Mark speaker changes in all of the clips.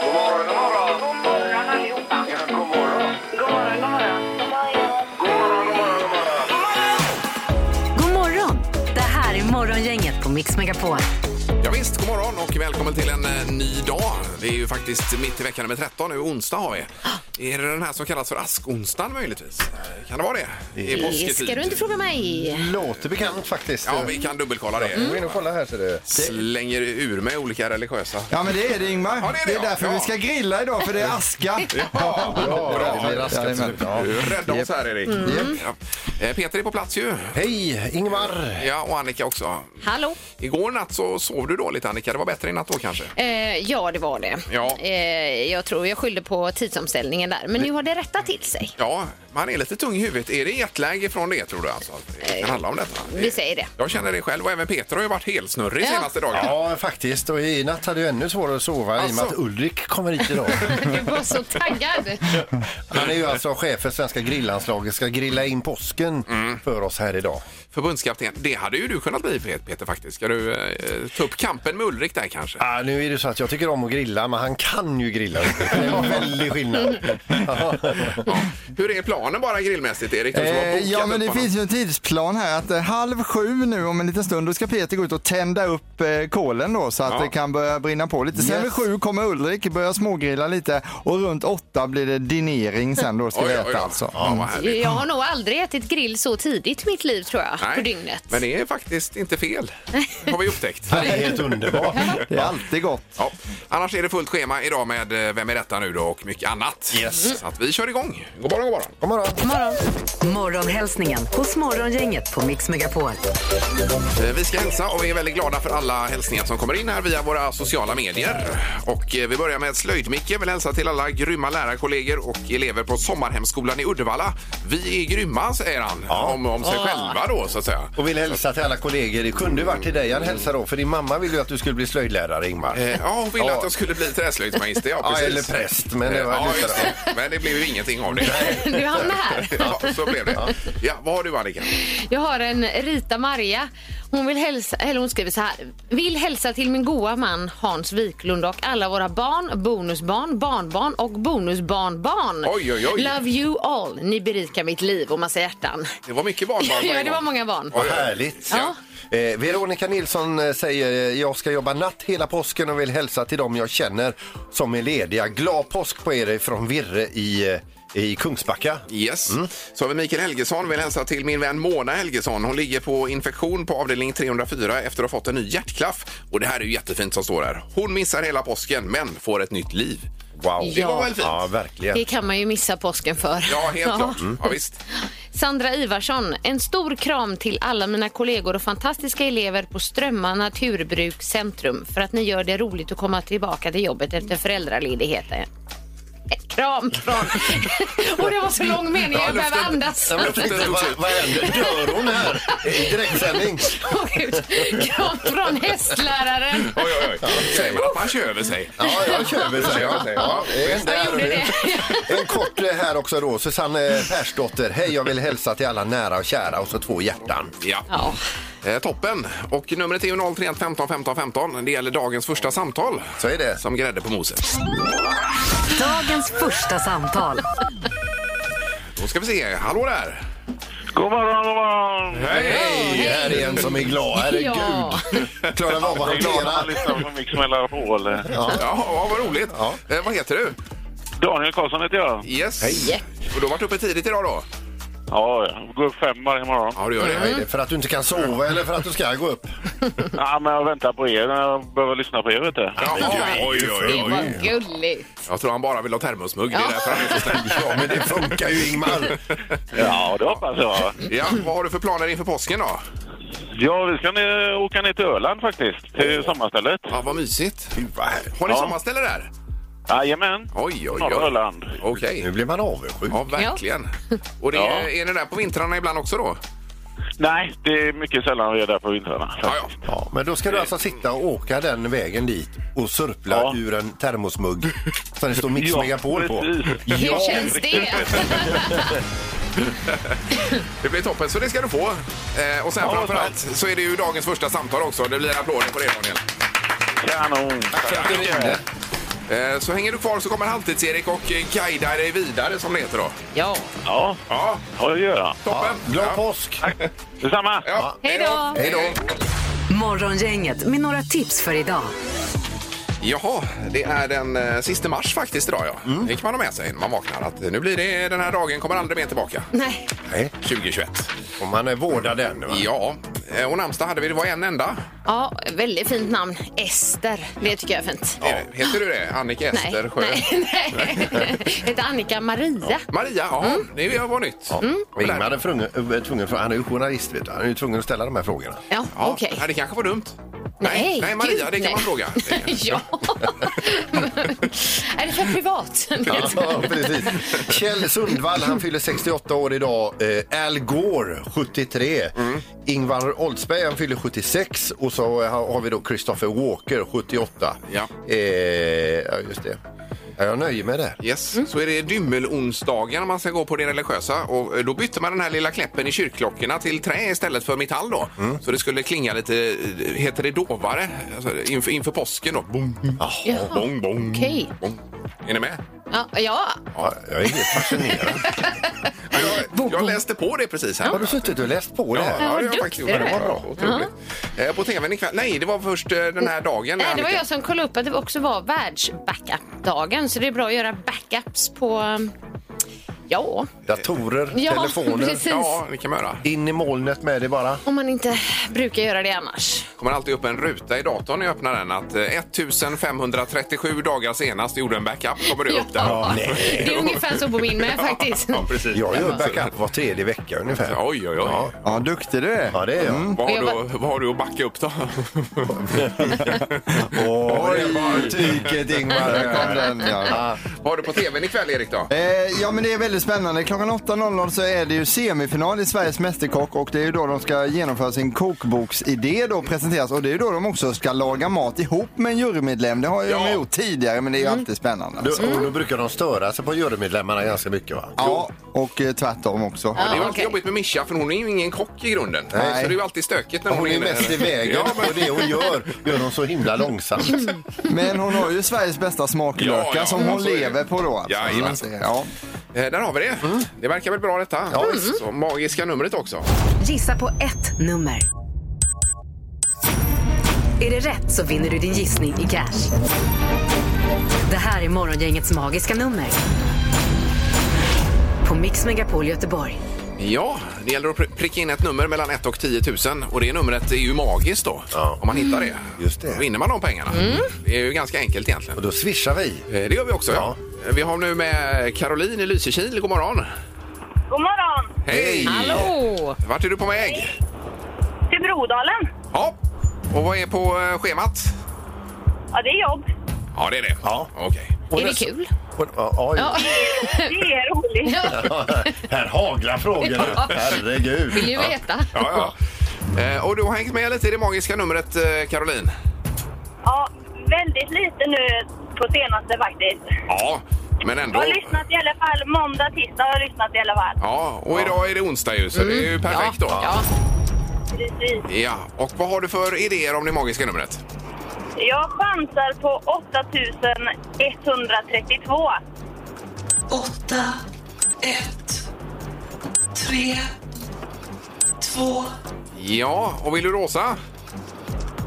Speaker 1: God morgon, god morgon. God morgon, allihopa. Ja, god morgon. God morgon, god morgon. God morgon, god
Speaker 2: God
Speaker 1: morgon, god morgon.
Speaker 2: morgon! Det här är Morgongänget på Mix Megapol.
Speaker 3: Ja, visst, god morgon och välkommen till en eh, ny dag. Det är ju faktiskt mitt i veckan nummer 13 nu, onsdag har vi.
Speaker 2: Ah.
Speaker 3: Är det den här som kallas för askonsdagen möjligtvis? Eh, Kan det vara det? I
Speaker 2: Det ska du inte fråga mig.
Speaker 4: Låter bekant faktiskt.
Speaker 3: Ja, vi kan dubbelkolla det.
Speaker 4: Mm. Gå in och kolla här ser du.
Speaker 3: Slänger ur mig olika religiösa...
Speaker 5: Ja men det är det Ingmar.
Speaker 3: Ja, det är det, ja.
Speaker 5: därför
Speaker 3: Ja.
Speaker 5: vi ska grilla idag för det är aska.
Speaker 3: Ja,
Speaker 4: det blir raskat.
Speaker 3: bra. Rädda oss här, Erik. Ja. Eh, Peter är på plats ju.
Speaker 4: Mm. Hej, Ingmar!
Speaker 3: Ja, och Annika också.
Speaker 6: Hallå?
Speaker 3: Igår natt så sov du dåligt, Annika. Det var bättre i natt då kanske?
Speaker 6: Eh, ja, det var det.
Speaker 3: Ja.
Speaker 6: Eh, jag tror jag skyllde på tidsomställningen där, men nu har det rättat till sig.
Speaker 3: Ja, man är lite tung i huvudet. Är det jetlag från det tror du alltså? Det kan handla om detta.
Speaker 6: Vi säger det.
Speaker 3: Jag känner det själv och även Peter har ju varit helsnurrig
Speaker 6: Ja.
Speaker 3: senaste dagen.
Speaker 4: Ja, faktiskt. Och i natt hade jag ännu svårare att sova i och med
Speaker 3: Alltså.
Speaker 4: att Ulrik kommer hit idag.
Speaker 6: Du var så taggad.
Speaker 4: Han är ju alltså chef för svenska grillanslaget, ska grilla in påsken för oss här idag.
Speaker 3: Mm. Förbundskapten, det hade ju du kunnat bli Peter faktiskt. Ska du eh, ta upp kampen med Ulrik där kanske?
Speaker 4: Ah, nu är det så att jag tycker om att grilla, men han kan ju grilla. Det är en väldig skillnad.
Speaker 3: Ja. Hur är planen bara grillmässigt Erik? Du som har bokat
Speaker 5: Eh, ja men
Speaker 3: upp
Speaker 5: det
Speaker 3: honom.
Speaker 5: finns ju en tidsplan här att eh, halv sju nu om en liten stund då ska Peter gå ut och tända upp eh, kolen då så att
Speaker 3: Ja.
Speaker 5: det kan börja brinna på lite. Sen
Speaker 4: Yes.
Speaker 5: vid sju kommer Ulrik börja smågrilla lite och runt åtta blir det dinering sen då ska vi
Speaker 3: Oj, oj, oj.
Speaker 5: äta alltså.
Speaker 3: Ja, vad härligt.
Speaker 6: Jag har nog aldrig ätit grill så tidigt i mitt liv, tror jag, på dygnet.
Speaker 3: men det är faktiskt inte fel, har vi upptäckt.
Speaker 4: Det är helt underbart.
Speaker 5: Det är alltid gott.
Speaker 3: Ja. Annars är det fullt schema idag med eh, Vem är detta nu då och mycket annat. Yes. Så att vi kör igång. God morgon, god morgon.
Speaker 4: God morgon.
Speaker 2: Morgonhälsningen hos Morgongänget på Mix Megapol.
Speaker 3: Eh, Vi ska hälsa och vi är väldigt glada för alla hälsningar som kommer in här via våra sociala medier. Och eh, vi börjar med Slöjd-Micke. Vill hälsa till alla grymma lärarkollegor och elever på Sommarhemskolan i Uddevalla. Vi är grymma, säger han. Om, om
Speaker 4: Ah.
Speaker 3: sig själva då, så att säga.
Speaker 4: Och vill hälsa till alla kollegor. Det kunde ju varit till dig han hälsar då, för din mamma ville ju att du skulle bli slöjdlärare, Ingmar.
Speaker 3: Eh, Ja, hon ville
Speaker 4: Ja.
Speaker 3: att jag skulle bli träslöjdsmagister. Ja,
Speaker 4: Ja,
Speaker 3: precis.
Speaker 4: eller präst, men det var
Speaker 3: Eh, ja,
Speaker 4: lite
Speaker 3: just det. Men det blev ju ingenting av det.
Speaker 6: Du hamnar här.
Speaker 3: Ja, så blev det. Ja, vad har du, Annika?
Speaker 6: Jag har en Rita Maria. Hon, vill hälsa, eller hon skriver så här. Vill hälsa till min goa man Hans Wiklund och alla våra barn, bonusbarn, barnbarn och bonusbarnbarn.
Speaker 3: Oj, oj, oj.
Speaker 6: Love you all. Ni berikar mitt liv och massa hjärtan.
Speaker 3: Det var mycket barnbarn på en
Speaker 6: Ja, det var
Speaker 3: gång.
Speaker 6: många barn.
Speaker 4: Vad härligt.
Speaker 3: Ja.
Speaker 4: Eh, Veronica Nilsson eh, säger eh, jag ska jobba natt hela påsken och vill hälsa till dem jag känner som är lediga. Glad påsk på er från Virre i, eh, i Kungsbacka.
Speaker 3: Yes. Mm. Så har vi Mikael Helgesson. Vill hälsa till min vän Mona Helgesson. Hon ligger på infektion på avdelning 304 efter att ha fått en ny hjärtklaff. Och det här är ju jättefint som står här. Hon missar hela påsken men får ett nytt liv.
Speaker 4: Wow.
Speaker 3: Det var väl fint?
Speaker 4: Ja,
Speaker 3: Ja,
Speaker 4: verkligen. Mm.
Speaker 6: Det kan man ju missa påsken för.
Speaker 3: helt klart. Ja, visst.
Speaker 6: Sandra Ivarsson, en stor kram till alla mina kollegor och fantastiska elever på Strömma Naturbrukscentrum för att ni gör det roligt att komma tillbaka till jobbet efter föräldraledigheten. Eh, Kram från... och det var så lång mening, jag behöver andas.
Speaker 3: Ja, luften tog
Speaker 4: Vad
Speaker 3: slut.
Speaker 4: vad händer? Dör hon här i direktsändning?
Speaker 6: Åh, Gud. Kram från hästläraren.
Speaker 3: Oj, oj, oj. Säger man att man kör över sig?
Speaker 4: Ja, jag kör väl så. Ja, ja, en,
Speaker 6: Jag
Speaker 4: där och
Speaker 6: gjorde det.
Speaker 4: en kort eh, här också då. Susanne Persdotter. Hej, jag vill hälsa till alla nära och kära och så två hjärtan.
Speaker 3: Ja.
Speaker 6: Ja.
Speaker 3: Eh, toppen! Och numret är ju 031 15 15 15. Det gäller dagens första samtal.
Speaker 4: Så är det.
Speaker 3: Som grädde på moset.
Speaker 2: Dagens första samtal.
Speaker 3: Då ska vi se. Hallå där!
Speaker 1: God morgon, god morgon.
Speaker 4: Hej! Här är en som är glad. Herregud.
Speaker 6: Ja.
Speaker 4: Klarar vi av att
Speaker 1: Jag är liksom, glad
Speaker 4: hantera?
Speaker 1: att han lyssnar på Mix Megapol.
Speaker 3: Ja, ja vad roligt. Eh, vad heter du?
Speaker 1: Daniel Karlsson heter jag.
Speaker 3: Yes. Och du har varit uppe tidigt idag då?
Speaker 1: Ja, jag går upp fem varje morgon.
Speaker 3: Ja, du gör det.
Speaker 4: Är det Mm. för att du inte kan sova eller för att du ska gå upp?
Speaker 1: Ja, men jag väntar på er. Jag behöver lyssna på er, vet du.
Speaker 3: Ja, oj, oj,
Speaker 6: Det
Speaker 3: oj, oj.
Speaker 6: var gulligt.
Speaker 3: Jag tror han bara vill ha termosmugg. Det är därför han är så snäll.
Speaker 4: Ja, men det funkar ju Ingmar.
Speaker 1: Ja, det hoppas jag.
Speaker 3: Ja, vad har du för planer inför påsken då?
Speaker 1: Ja, vi ska ner, åka ner till Öland faktiskt, till sommarstället.
Speaker 3: Ja, vad mysigt.
Speaker 4: Gud, vad härligt.
Speaker 3: Har ni
Speaker 1: Ja.
Speaker 3: sommarställe där?
Speaker 1: Jajamän.
Speaker 3: Oj, oj,
Speaker 1: Norra
Speaker 3: oj.
Speaker 1: Öland.
Speaker 3: Okej.
Speaker 4: Nu blir man avundsjuk.
Speaker 3: Ja, verkligen. Och det är,
Speaker 1: Ja.
Speaker 3: är ni där på vintrarna ibland också då?
Speaker 1: Nej, det är mycket sällan vi är där på vintrarna.
Speaker 3: Ja, ja.
Speaker 4: Ja, men då ska du alltså sitta och åka den vägen dit och surpla
Speaker 1: Ja.
Speaker 4: ur en termosmugg som det står Mix
Speaker 1: Ja,
Speaker 4: Megapol på.
Speaker 1: precis.
Speaker 6: Hur känns det?
Speaker 3: Det blir toppen, så det ska du få. Eh, och sen
Speaker 1: Ja,
Speaker 3: framför
Speaker 1: tack.
Speaker 3: allt så är det ju dagens första samtal också. Det blir applåder på det, Daniel.
Speaker 1: Kanon.
Speaker 4: Tack för att du ringde.
Speaker 3: Eh, Så hänger du kvar så kommer Halvtids-Erik och eh, guidar dig vidare som det heter då.
Speaker 6: Ja.
Speaker 7: Ja,
Speaker 3: Ja,
Speaker 7: har jag att göra.
Speaker 3: toppen!
Speaker 4: Glad påsk!
Speaker 7: Detsamma!
Speaker 3: Ja,
Speaker 6: Hej då!
Speaker 3: Hej då!
Speaker 2: Morgongänget med några tips för idag.
Speaker 3: Jaha, det är den eh, sista mars faktiskt idag ja.
Speaker 4: Mm.
Speaker 3: Det kan man ha med sig när man vaknar. Att eh, nu blir det, den här dagen kommer aldrig mer tillbaka.
Speaker 6: Nej,
Speaker 4: Nej,
Speaker 3: 2021.
Speaker 4: om man är vårdad än. va?
Speaker 3: Ja, eh, och namnsdag hade vi, det var en enda.
Speaker 6: ja, väldigt fint namn. Ester, det tycker jag är fint.
Speaker 3: Är det- Heter du det? Annika
Speaker 6: Nej,
Speaker 3: Ester Sjö?
Speaker 6: nej, nej. Jag heter Annika Maria.
Speaker 3: Maria, ja.
Speaker 6: Mm.
Speaker 3: Det var nytt. Ja,
Speaker 4: Och Ingmar är tvungen, eh, är tvungen, för han är ju journalist, vet du. han är ju tvungen att ställa de här frågorna.
Speaker 6: Ja,
Speaker 3: Ja,
Speaker 6: okej.
Speaker 3: nej, det kanske var dumt.
Speaker 6: Nej,
Speaker 3: nej Maria,
Speaker 6: gud,
Speaker 3: det kan
Speaker 6: nej.
Speaker 3: man fråga.
Speaker 6: ja. är det för privat?
Speaker 4: Ja, precis. Kjell Sundvall, han fyller 68 år idag. Eh, Al Gore, 73.
Speaker 3: Mm.
Speaker 4: Ingvar Oldsberg, han fyller 76. Och så har har vi då Christopher Walker, 78.
Speaker 3: Ja.
Speaker 4: Eh, ja, just det. Ja, jag nöjer mig där.
Speaker 3: Yes,
Speaker 6: Mm.
Speaker 3: så är det dymmelonsdagen om man ska gå på det religiösa. Och eh, då bytte man den här lilla kläppen i kyrkklockorna till trä istället för metall då.
Speaker 4: Mm.
Speaker 3: Så det skulle klinga lite, eh, heter det dovare, alltså, inför, inför påsken då. Bong,
Speaker 6: Jaha.
Speaker 3: bong, bong,
Speaker 6: Okej.
Speaker 3: bong. Är ni med?
Speaker 6: Ja, ja.
Speaker 4: Ja, jag är helt fascinerad.
Speaker 3: Jag, jag läste på det precis här.
Speaker 4: har du suttit och läst på det
Speaker 3: Ja,
Speaker 4: här?
Speaker 3: ja, det har jag
Speaker 6: duktig
Speaker 3: faktiskt gjort.
Speaker 6: du
Speaker 3: Det
Speaker 6: är.
Speaker 3: var bra. Otroligt. Eh, På tvn ikväll. Nej, det var först eh, den här dagen.
Speaker 6: Nej, det var
Speaker 3: Annika.
Speaker 6: jag som kollade upp att det också var världsbackup-dagen. Så det är bra att göra backups på... um, Ja,
Speaker 4: Datorer,
Speaker 6: Ja,
Speaker 4: telefoner.
Speaker 6: precis.
Speaker 3: Ja, det kan man göra.
Speaker 4: In i molnet med det bara.
Speaker 6: om man inte brukar göra det annars.
Speaker 3: kommer alltid upp en ruta i datorn när jag öppnar den att eh, 1537 dagar senast gjorde en backup kommer det upp där.
Speaker 6: Ja,
Speaker 3: Ja.
Speaker 6: Det är ungefär så på min med faktiskt.
Speaker 3: Ja, precis.
Speaker 4: Jag gör backup var tredje vecka ungefär.
Speaker 3: Oj, oj, oj.
Speaker 4: Ja.
Speaker 5: Ja, duktig du är.
Speaker 4: Ja, det är jag.
Speaker 3: Vad, har
Speaker 6: Jag
Speaker 3: du, vad har du att backa upp då?
Speaker 5: Oj, tyket Ingmar. Där kom den, ja.
Speaker 3: vad har du på tvn ikväll Erik då?
Speaker 5: Eh, ja men det är väldigt spännande. Klockan 8.00 så är det ju semifinal i Sveriges Mästerkock och det är ju då de ska genomföra sin kokboksidé då presenteras och det är ju då de också ska laga mat ihop med en jurymedlem. Det har ju
Speaker 3: Ja.
Speaker 5: de gjort tidigare men det är ju
Speaker 6: Mm.
Speaker 5: alltid spännande.
Speaker 4: Då,
Speaker 3: Alltså.
Speaker 4: och då brukar de störa sig på jurymedlemmarna ganska mycket va?
Speaker 5: Ja, och eh, tvärtom också.
Speaker 3: Det är
Speaker 4: Ah,
Speaker 3: ju alltid
Speaker 6: okej.
Speaker 3: jobbigt med Mischa för hon är ju ingen kock i grunden.
Speaker 5: Nej.
Speaker 3: Så det är ju alltid stökigt när hon,
Speaker 4: Hon är ju
Speaker 3: inne.
Speaker 4: mest i vägen
Speaker 3: Ja, men,
Speaker 4: och det hon gör, gör hon så himla långsamt.
Speaker 6: Mm.
Speaker 5: Men hon har ju Sveriges bästa smaklökar
Speaker 3: Ja, ja,
Speaker 5: som hon
Speaker 3: så är det.
Speaker 5: lever på då. Alltså.
Speaker 3: Jajamän.
Speaker 5: Så att det- ja.
Speaker 3: eh, där har vi det.
Speaker 4: Mm.
Speaker 3: Det verkar väl bra detta. Ja, så, magiska numret också.
Speaker 2: Gissa på ett nummer. Är det rätt så vinner du din gissning i cash. Det här är Morgongängets magiska nummer. På Mix Megapol Göteborg.
Speaker 3: Ja, det gäller att pri- pricka in ett nummer mellan 1 och 10 000 och det numret är ju magiskt då.
Speaker 4: Ja.
Speaker 3: Om man hittar det.
Speaker 4: Just det.
Speaker 3: Då vinner man de pengarna. Det är ju ganska enkelt egentligen.
Speaker 4: Och då swishar vi.
Speaker 3: Eh, Det gör vi också. Ja. Vi har nu med Caroline i Lysekil. God morgon!
Speaker 8: God morgon!
Speaker 3: Hej!
Speaker 6: Hallå!
Speaker 3: Vart är du på väg?
Speaker 8: Till Brodalen.
Speaker 3: Ja. Och vad är på eh, schemat?
Speaker 8: Ja, det är jobb.
Speaker 3: Ja, det är det.
Speaker 4: Ja.
Speaker 3: Okej.
Speaker 6: Är det kul?
Speaker 4: Och, ja, ja,
Speaker 6: Ja.
Speaker 8: Det är roligt.
Speaker 4: Här haglar frågorna.
Speaker 6: Vill
Speaker 4: Herregud.
Speaker 6: ju veta.
Speaker 3: Ja, ja. Eh, Och du har hängt med lite i det magiska numret, eh, Caroline?
Speaker 8: Ja, väldigt lite nu på senaste faktiskt.
Speaker 3: Ja, men
Speaker 8: Jag
Speaker 3: ändå.
Speaker 8: har lyssnat i alla fall. Måndag, tisdag har jag lyssnat i alla fall.
Speaker 3: Ja, och idag är det onsdag ju, så det är ju perfekt då.
Speaker 6: Mm. Ja.
Speaker 8: Precis.
Speaker 3: Ja, och vad har du för idéer om det magiska numret?
Speaker 8: Jag chansar på 8132.
Speaker 9: 8, 1, 3, 2,
Speaker 3: Ja, och vill du rosa?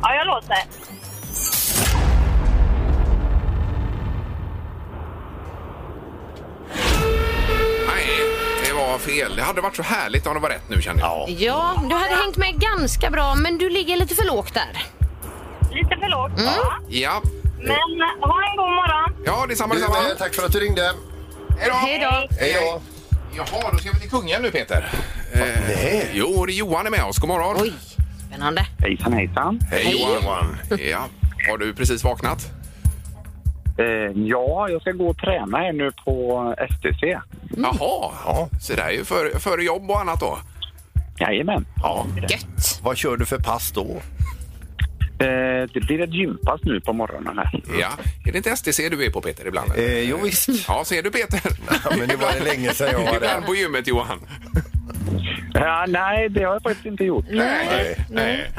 Speaker 8: Ja, jag låter.
Speaker 3: Nej, det var fel. Det hade varit så härligt om det var rätt nu känner jag.
Speaker 4: Ja.
Speaker 6: ja, du hade hängt med ganska bra men du ligger lite för lågt där.
Speaker 8: Lite för lågt.
Speaker 6: Mm.
Speaker 8: Ja.
Speaker 3: Ja,
Speaker 8: Men ha en god morgon.
Speaker 3: ja detsamma,
Speaker 4: Du
Speaker 3: detsamma.
Speaker 4: med, tack för att du ringde.
Speaker 3: Hej då!
Speaker 6: Hej då!
Speaker 4: Hej då.
Speaker 3: Jaha, då ska vi till kungen nu Peter. Eh,
Speaker 4: Nej.
Speaker 3: Jo, det är Johan är med oss. God morgon.
Speaker 6: Oj, spännande.
Speaker 7: Hejsan, hejsan.
Speaker 3: Hej Johan. ja. Har du precis vaknat?
Speaker 7: Eh, ja, jag ska gå och träna här nu på STC.
Speaker 3: Jaha, så det här är ju före för jobb och annat då.
Speaker 7: Jajamän.
Speaker 4: Ja.
Speaker 6: Gött!
Speaker 4: Vad kör du för pass då?
Speaker 7: Eh, det blir ett gympass nu på morgonen här.
Speaker 3: Ja. Är det inte STC du är på Peter ibland? eller?
Speaker 4: Eh, jo, visst.
Speaker 3: Ja, ser du Peter?
Speaker 4: Ja, men nu var det länge sedan jag var
Speaker 3: Ibland
Speaker 4: där.
Speaker 3: på gymmet Johan.
Speaker 7: Ja, nej, det har jag faktiskt inte gjort.
Speaker 3: Nej. Nej.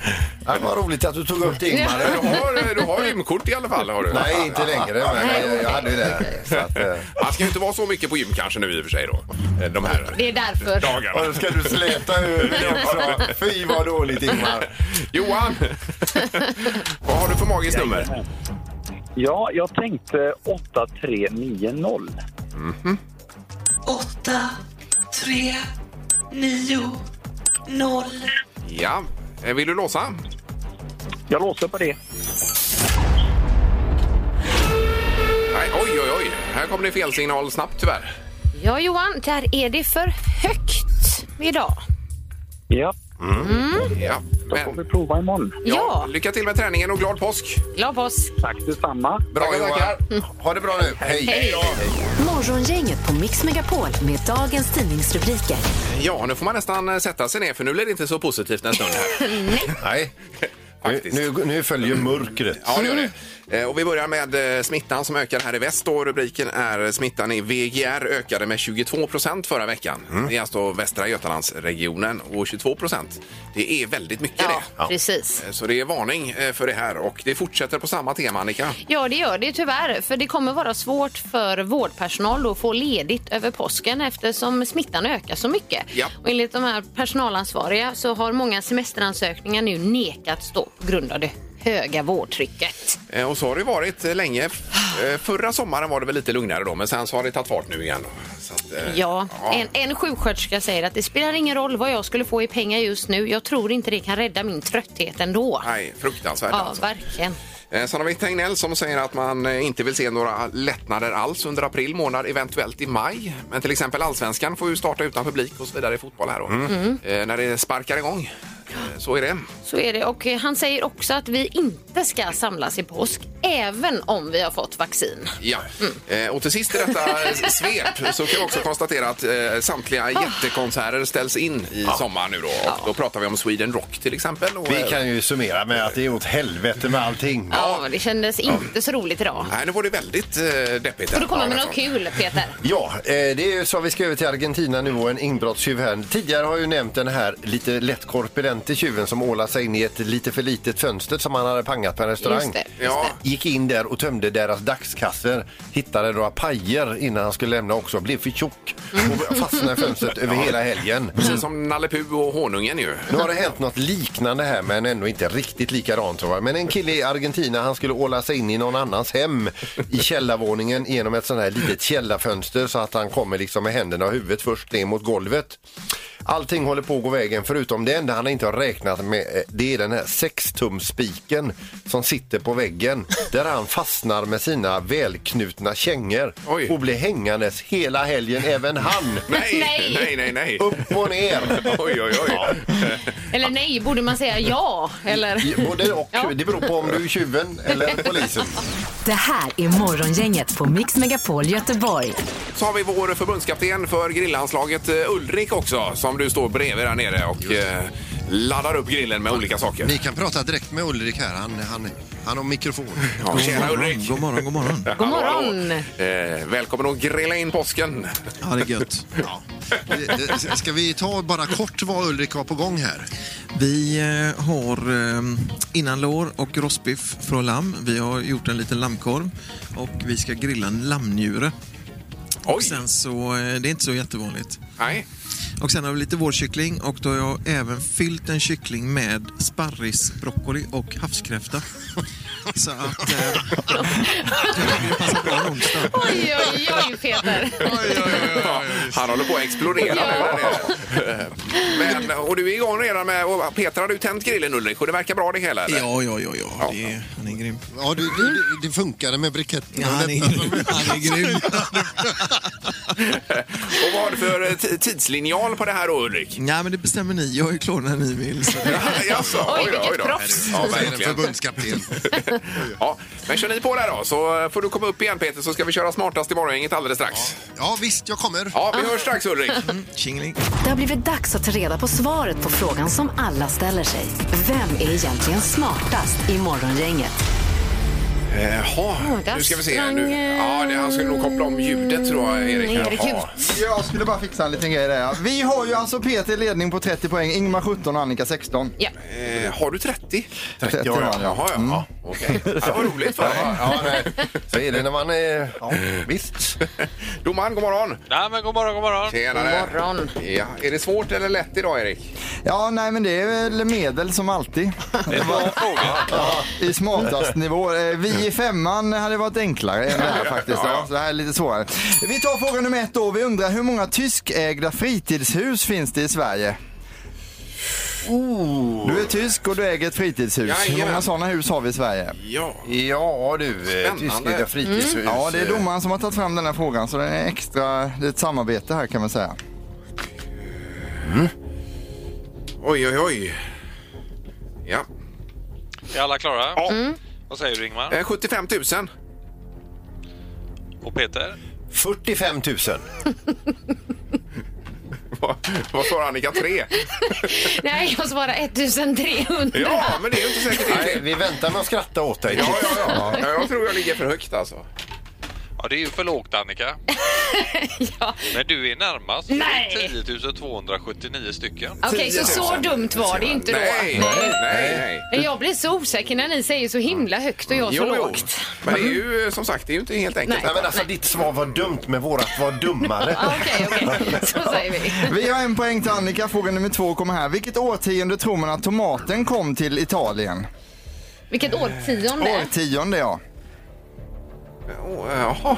Speaker 4: Ja, vad roligt att du tog upp det Ingmar.
Speaker 3: Men Du har, du har gymkort i alla fall. Har du.
Speaker 4: Nej, inte längre, men jag, jag hade ju det. Så att, eh.
Speaker 3: Man ska ju inte vara så mycket på gym kanske nu i och för sig då. eh, De här
Speaker 6: Det är därför.
Speaker 4: Och då
Speaker 3: dagarna.
Speaker 4: ska du släta över det också. Fy vad dåligt Ingmar.
Speaker 3: Johan! Vad har du för magiskt nummer?
Speaker 7: Ja, jag tänkte 8390.
Speaker 9: 8, 3, 9, 0.
Speaker 3: Ja. Eh, Vill du låsa?
Speaker 7: Jag låser på det.
Speaker 3: Nej, oj, oj, oj. Här kom det fel signal snabbt tyvärr.
Speaker 6: Ja, Johan, där är det för högt idag.
Speaker 7: Ja,
Speaker 3: Mm. Ja,
Speaker 7: får vi
Speaker 3: men,
Speaker 7: prova imorgon.
Speaker 3: ja,
Speaker 6: Ja,
Speaker 3: lycka till med träningen och glad påsk!
Speaker 6: glad påsk.
Speaker 7: Tack detsamma.
Speaker 4: Bra
Speaker 3: Tackar,
Speaker 4: Johan. Ha det bra nu. Hej.
Speaker 2: Morgongänget på Mix Megapol med dagens tidningsrubriker.
Speaker 3: Ja, nu får man nästan eh, sätta sig ner för nu blir det inte så positivt en stund här.
Speaker 4: Nej. Nu,
Speaker 3: Faktiskt.
Speaker 4: nu, nu följer mörkret.
Speaker 3: Ja, det gör det. Eh, Och vi börjar med eh, smittan som ökar här i väst. Och rubriken är eh, smittan i VGR ökade med 22 procent förra veckan.
Speaker 4: Mm.
Speaker 3: Det är alltså Västra Götalandsregionen och 22 procent. Det är väldigt mycket
Speaker 6: Ja,
Speaker 3: det.
Speaker 6: precis.
Speaker 3: Så det är varning eh, för det här och det fortsätter på samma tema Annika.
Speaker 6: Ja, det gör det tyvärr. För det kommer vara svårt för vårdpersonal att få ledigt över påsken eftersom smittan ökar så mycket.
Speaker 3: Ja.
Speaker 6: Och enligt de här personalansvariga så har många semesteransökningar nu nekats då på grund av det höga vårdtrycket.
Speaker 3: Eh, Och så har det varit eh, länge. Eh, Förra sommaren var det väl lite lugnare då men sen så har det tagit fart nu igen. Så att, eh,
Speaker 6: Ja, en, en sjuksköterska säger att det spelar ingen roll vad jag skulle få i pengar just nu. Jag tror inte det kan rädda min trötthet ändå.
Speaker 3: Nej, fruktansvärt
Speaker 6: Ja,
Speaker 3: alltså.
Speaker 6: verkligen.
Speaker 3: Eh, Sen har vi Tegnell som säger att man eh, inte vill se några lättnader alls under april månad, eventuellt i maj. Men till exempel allsvenskan får ju starta utan publik och så vidare i fotboll här då. Eh, När det sparkar igång. Eh, Så är det.
Speaker 6: Så är det. Och eh, han säger också att vi inte ska samlas i påsk, även om vi har fått vaccin.
Speaker 3: Ja. Eh, Och till sist i detta eh, svep så kan vi också konstatera att eh,
Speaker 6: Ah.
Speaker 3: samtliga jättekonserter ställs in i sommar nu då. Och då pratar vi om Sweden Rock till exempel. Och,
Speaker 4: Vi
Speaker 3: eh,
Speaker 4: kan ju summera med att det är åt helvete med allting.
Speaker 6: Ja, det kändes inte så roligt idag.
Speaker 3: Nej, nu var det väldigt eh, deppigt.
Speaker 6: Får
Speaker 3: här.
Speaker 6: du komma med
Speaker 3: Ja,
Speaker 6: något kul, Peter?
Speaker 4: Ja, eh, det är ju så vi ska över till Argentina nu och en inbrottstjuv här. Tidigare har jag ju nämnt den här lite lätt korpulente tjuven som ålade sig in i ett lite för litet fönster som han hade pangat på en restaurang.
Speaker 6: Just det, just
Speaker 3: Ja.
Speaker 4: Gick in där och tömde deras dagskasser, hittade några pajer innan han skulle lämna också, blev för tjock
Speaker 6: Mm.
Speaker 4: och fastnade i fönstret över hela helgen.
Speaker 3: Precis som Nalle Puh och honungen ju.
Speaker 4: Nu har det hänt något liknande här men ändå inte riktigt likadant tror jag. Men en kille i Argentina han skulle åla sig in i någon annans hem i källarvåningen genom ett sånt här litet källarfönster så att han kommer liksom med händerna och huvudet först ner mot golvet. Allting håller på att gå vägen förutom det enda han inte har räknat med eh, det är den här sextumspiken som sitter på väggen där han fastnar med sina välknutna kängor
Speaker 3: Oj.
Speaker 4: och blir hängandes hela helgen även han.
Speaker 3: Nej,
Speaker 6: Nej.
Speaker 3: nej, nej, nej.
Speaker 4: Upp och ner.
Speaker 3: Oj, oj, oj.
Speaker 6: Eller nej, borde man säga ja? Eller?
Speaker 4: Både och.
Speaker 6: Ja.
Speaker 4: Det beror på om du är tjuven eller polisen.
Speaker 2: Det här är Morgongänget på Mix Megapol Göteborg.
Speaker 3: Så har vi vår förbundskapten för grillanslaget eh, Ulrik också som du står bredvid där nere och eh, laddar upp grillen med olika saker.
Speaker 4: Ni kan prata direkt med Ulrik här. Han, han, han har mikrofon.
Speaker 3: Ja, tjena Ulrik!
Speaker 10: God morgon, god morgon.
Speaker 6: God morgon!
Speaker 3: Eh, välkommen att grilla in påsken.
Speaker 10: Ja, det är gött.
Speaker 4: Ja. Ska vi ta bara kort vad Ulrik har på gång här?
Speaker 10: Vi eh, har eh, innanlår och rostbiff från lamm. Vi har gjort en liten lammkorv och vi ska grilla en lammnjure.
Speaker 3: Oj!
Speaker 10: Och sen så, eh, det är inte så jättevanligt.
Speaker 3: Nej.
Speaker 10: Och sen har vi lite vårkyckling och då har jag även fyllt en kyckling med sparrisbroccoli och havskräfta. Så att... Eh, det passar bra en onsdag.
Speaker 6: Oj, oj, oj, Peter.
Speaker 3: Han håller på att explodera nu där nere. Eh, Men, och du är igång redan med... Och Peter, har du tänt grillen Ulrik? Och det verkar bra det hela eller?
Speaker 10: Ja, ja, ja, ja. Det är, han är grym.
Speaker 4: Ja, du, du, du, det funkade med briketten.
Speaker 10: Ja, han, är, han är grym.
Speaker 3: Och vad har du för eh, t- tidslinjal på det här då Ulrik?
Speaker 10: Nej, men det bestämmer ni. Jag är klar när ni vill. Så det...
Speaker 3: Jaså,
Speaker 6: Oj,
Speaker 3: då,
Speaker 6: vilket
Speaker 3: då.
Speaker 6: proffs.
Speaker 3: Ja, verkligen.
Speaker 4: Förbundskapten.
Speaker 3: Ja, men kör ni på där då så får du komma upp igen Peter så ska vi köra smartast i morgongänget alldeles strax.
Speaker 4: Ja, visst, jag kommer.
Speaker 3: Ja, vi hörs strax Ulrik.
Speaker 10: Tjingeling.
Speaker 2: Det har blivit dags att ta reda på svaret på frågan som alla ställer sig. Vem är egentligen smartast i Morgongänget?
Speaker 3: Jaha,
Speaker 6: där
Speaker 3: nu ska vi se.
Speaker 6: sprang,
Speaker 3: Nu. Ja, det, han skulle nog koppla om ljudet tror jag, Erik.
Speaker 6: Mm, Erik
Speaker 3: Jaha.
Speaker 5: Jag skulle bara fixa en liten grej där. ja. Vi har ju alltså Peter i ledning på 30 poäng, Ingmar 17 och Annika 16.
Speaker 6: Ja.
Speaker 3: Eh, har du 30?
Speaker 5: 30
Speaker 4: ja, ja.
Speaker 5: har jag.
Speaker 3: Jaha, ja. ja. Okej. Ja, Det var roligt. Va?
Speaker 4: Ja, nej. Så är det när man är... Ja, visst.
Speaker 3: Domaren, god morgon!
Speaker 7: Nej, men god morgon, god morgon.
Speaker 3: Tjenare!
Speaker 6: God morgon.
Speaker 3: Ja, är det svårt eller lätt idag, Erik?
Speaker 5: Ja, nej men det är väl medel som alltid.
Speaker 7: Det var en fråga.
Speaker 5: I smartast nivå. Eh, Vi i femman hade varit enklare än det här faktiskt.
Speaker 3: Ja, ja.
Speaker 5: Ja, så det här är lite svårare. Vi tar fråga nummer ett då. Vi undrar hur många tyskägda fritidshus finns det i Sverige? Du är tysk och du äger ett fritidshus. hur
Speaker 3: Jajamän.
Speaker 5: många sådana hus har vi i Sverige?
Speaker 3: Ja.
Speaker 4: Ja, du. eh,
Speaker 3: Spännande.
Speaker 4: Tyska fritidshus.
Speaker 10: Mm.
Speaker 5: Ja, det är domaren som har tagit fram den här frågan så det är extra, det är ett samarbete här kan man säga.
Speaker 6: Mm.
Speaker 3: Oj, oj, oj. Ja.
Speaker 7: Är alla klara?
Speaker 3: Ja.
Speaker 6: Mm.
Speaker 7: Vad säger du Ingmar?
Speaker 3: Eh, 75 000.
Speaker 7: Och Peter?
Speaker 4: 45 000.
Speaker 3: Vad- Vad svarar Annika? 3?
Speaker 6: Nej, jag svarar 1300.
Speaker 3: Ja, men det är ju inte säkert det är
Speaker 4: Nej,
Speaker 3: fel.
Speaker 4: vi väntar med att skratta åt dig.
Speaker 3: Ja, ja, ja. ja, jag tror jag ligger för högt alltså.
Speaker 7: Ja, det är ju för lågt Annika.
Speaker 6: Ja.
Speaker 7: Men du är närmast.
Speaker 6: Nej.
Speaker 7: 10 279 stycken.
Speaker 6: Okej, så så dumt var det inte då.
Speaker 3: Nej, nej, nej.
Speaker 6: Men jag blir så osäker när ni säger så himla högt och jag så lågt.
Speaker 3: Men det är ju eh, som sagt, det är ju inte helt enkelt.
Speaker 4: Nej, men alltså ditt svar var dumt, men vårat var dummare.
Speaker 6: Ja, Okej, okej. Så säger vi.
Speaker 5: Vi har en poäng till Annika. Fråga nummer två kommer här. Vilket årtionde tror man att tomaten kom till Italien?
Speaker 6: Vilket årtionde?
Speaker 5: Årtionde ja.
Speaker 3: Åh, eh, Jaha.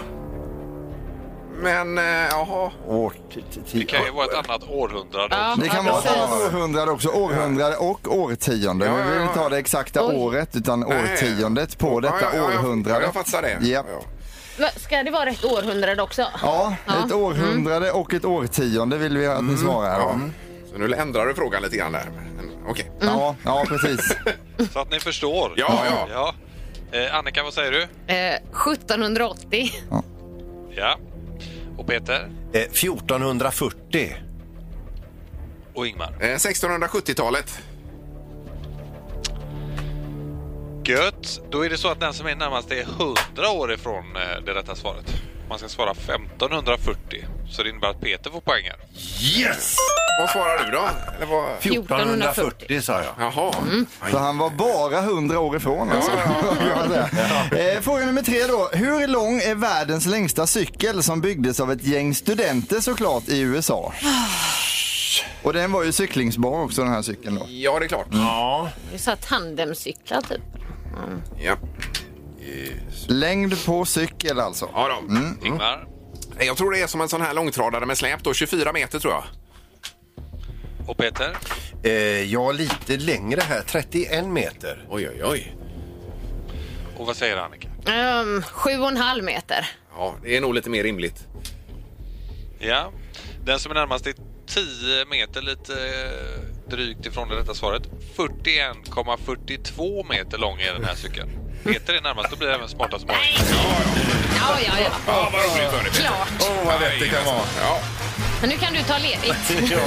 Speaker 3: Men, eh, jaha.
Speaker 7: Det kan ju vara ett annat århundrade.
Speaker 6: Ja,
Speaker 5: Det kan
Speaker 6: ja,
Speaker 5: vara ett
Speaker 6: precis.
Speaker 5: annat århundrade också. Århundrade och årtionde.
Speaker 3: Ja,
Speaker 5: Men vi vill
Speaker 3: ja,
Speaker 5: inte
Speaker 3: ja.
Speaker 5: ha det exakta
Speaker 6: Oj.
Speaker 5: året utan
Speaker 3: Nej.
Speaker 5: årtiondet på detta
Speaker 3: Ja, ja, ja, jag-
Speaker 5: århundrade.
Speaker 3: Jag fattar det.
Speaker 5: Japp.
Speaker 3: Ja.
Speaker 6: Va, Ska det vara rätt århundrade också?
Speaker 5: Ja, ett århundrade och ett årtionde vill vi att ni svarar här.
Speaker 3: Mm. Ja.
Speaker 5: va?
Speaker 3: Så nu ändrar du frågan lite grann där. Men, Okej.
Speaker 5: Ja, ja, precis.
Speaker 7: Så att ni förstår.
Speaker 3: Ja, ja.
Speaker 7: Eh, Annika, vad säger du?
Speaker 6: Eh, 1780.
Speaker 7: Ja. Och Peter?
Speaker 4: Eh, 1440.
Speaker 7: Och Ingmar?
Speaker 3: Eh, 1670-talet.
Speaker 7: Gött! Då är det så att den som är närmast är 100 år ifrån eh, det rätta svaret. Man ska svara 1540, så det innebär att Peter får poäng här.
Speaker 4: Yes!
Speaker 3: Vad svarar du då? Eller vad?
Speaker 4: 1440 sa jag.
Speaker 3: Jaha.
Speaker 5: Mm. Så han var bara 100 år ifrån alltså. Eh, Fråga nummer tre då. Hur lång är världens längsta cykel som byggdes av ett gäng studenter såklart i USA? Och den var ju cyklingsbar också den här cykeln då.
Speaker 3: Ja, det är klart.
Speaker 4: Ja.
Speaker 6: Det är så här tandemcyklar typ.
Speaker 3: Mm. Ja.
Speaker 5: Längd på cykel alltså.
Speaker 3: Ja, då.
Speaker 4: Mm.
Speaker 7: Mm. Ingmar?
Speaker 3: Nej, Jag tror det är som en sån här långtradare med släp då, 24 meter tror jag.
Speaker 7: Och Peter?
Speaker 4: Eh, jag är lite längre här, 31 meter.
Speaker 3: Oj, oj, oj.
Speaker 7: Och vad säger Annika?
Speaker 6: Um, sju och en halv meter.
Speaker 3: Ja, det är nog lite mer rimligt.
Speaker 7: Ja. Den som är närmast är 10 meter lite eh, drygt ifrån det rätta svaret. 41,42 meter lång är den här cykeln. Peter är närmast, då blir det även smartast mål.
Speaker 6: Ja, ja, ja.
Speaker 3: Ja, vad roligt för dig.
Speaker 6: Klart.
Speaker 4: Åh, vad lätt det kan vara.
Speaker 3: Ja.
Speaker 6: Men nu kan du ta ledigt.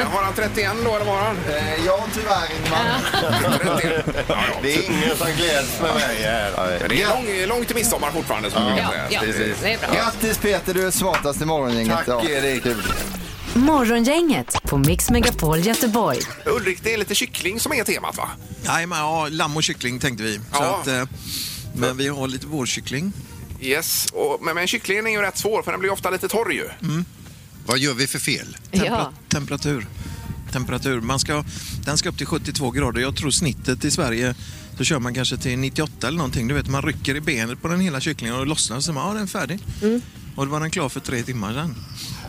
Speaker 3: Eh, Har han 31 då, eller vad har han?
Speaker 5: Eh, Ja, tyvärr Ingmar.
Speaker 3: 31. Ja, ja.
Speaker 4: Det är ingen som gläds med mig här.
Speaker 3: Men det är lång, långt till midsommar fortfarande. Som man kan
Speaker 6: Ja,
Speaker 3: säga.
Speaker 6: ja.
Speaker 4: precis.
Speaker 6: Det är bra.
Speaker 5: Grattis Peter, du är smartast i morgongänget.
Speaker 4: Tack,
Speaker 5: Ja.
Speaker 4: Erik.
Speaker 2: Morgongänget på Mix Megapol Göteborg.
Speaker 3: Ulrik, det är lite kyckling som är temat, va?
Speaker 10: Nej, men, ja, lamm och kyckling tänkte vi. Så
Speaker 3: Ja.
Speaker 10: att, eh, men vi har lite vårkyckling.
Speaker 3: Yes. Och, men, men kycklingen är ju rätt svår, för den blir ofta lite torr ju.
Speaker 11: Vad gör vi för fel?
Speaker 6: Ja.
Speaker 10: Temperatur. Temperatur. Man ska, den ska upp till 72 grader. Jag tror snittet i Sverige så kör man kanske till 98 eller någonting. Du vet, man rycker i benet på den hela kycklingen och lossnar och så man, ja, den är färdig. Och då var den klar för tre timmar sedan.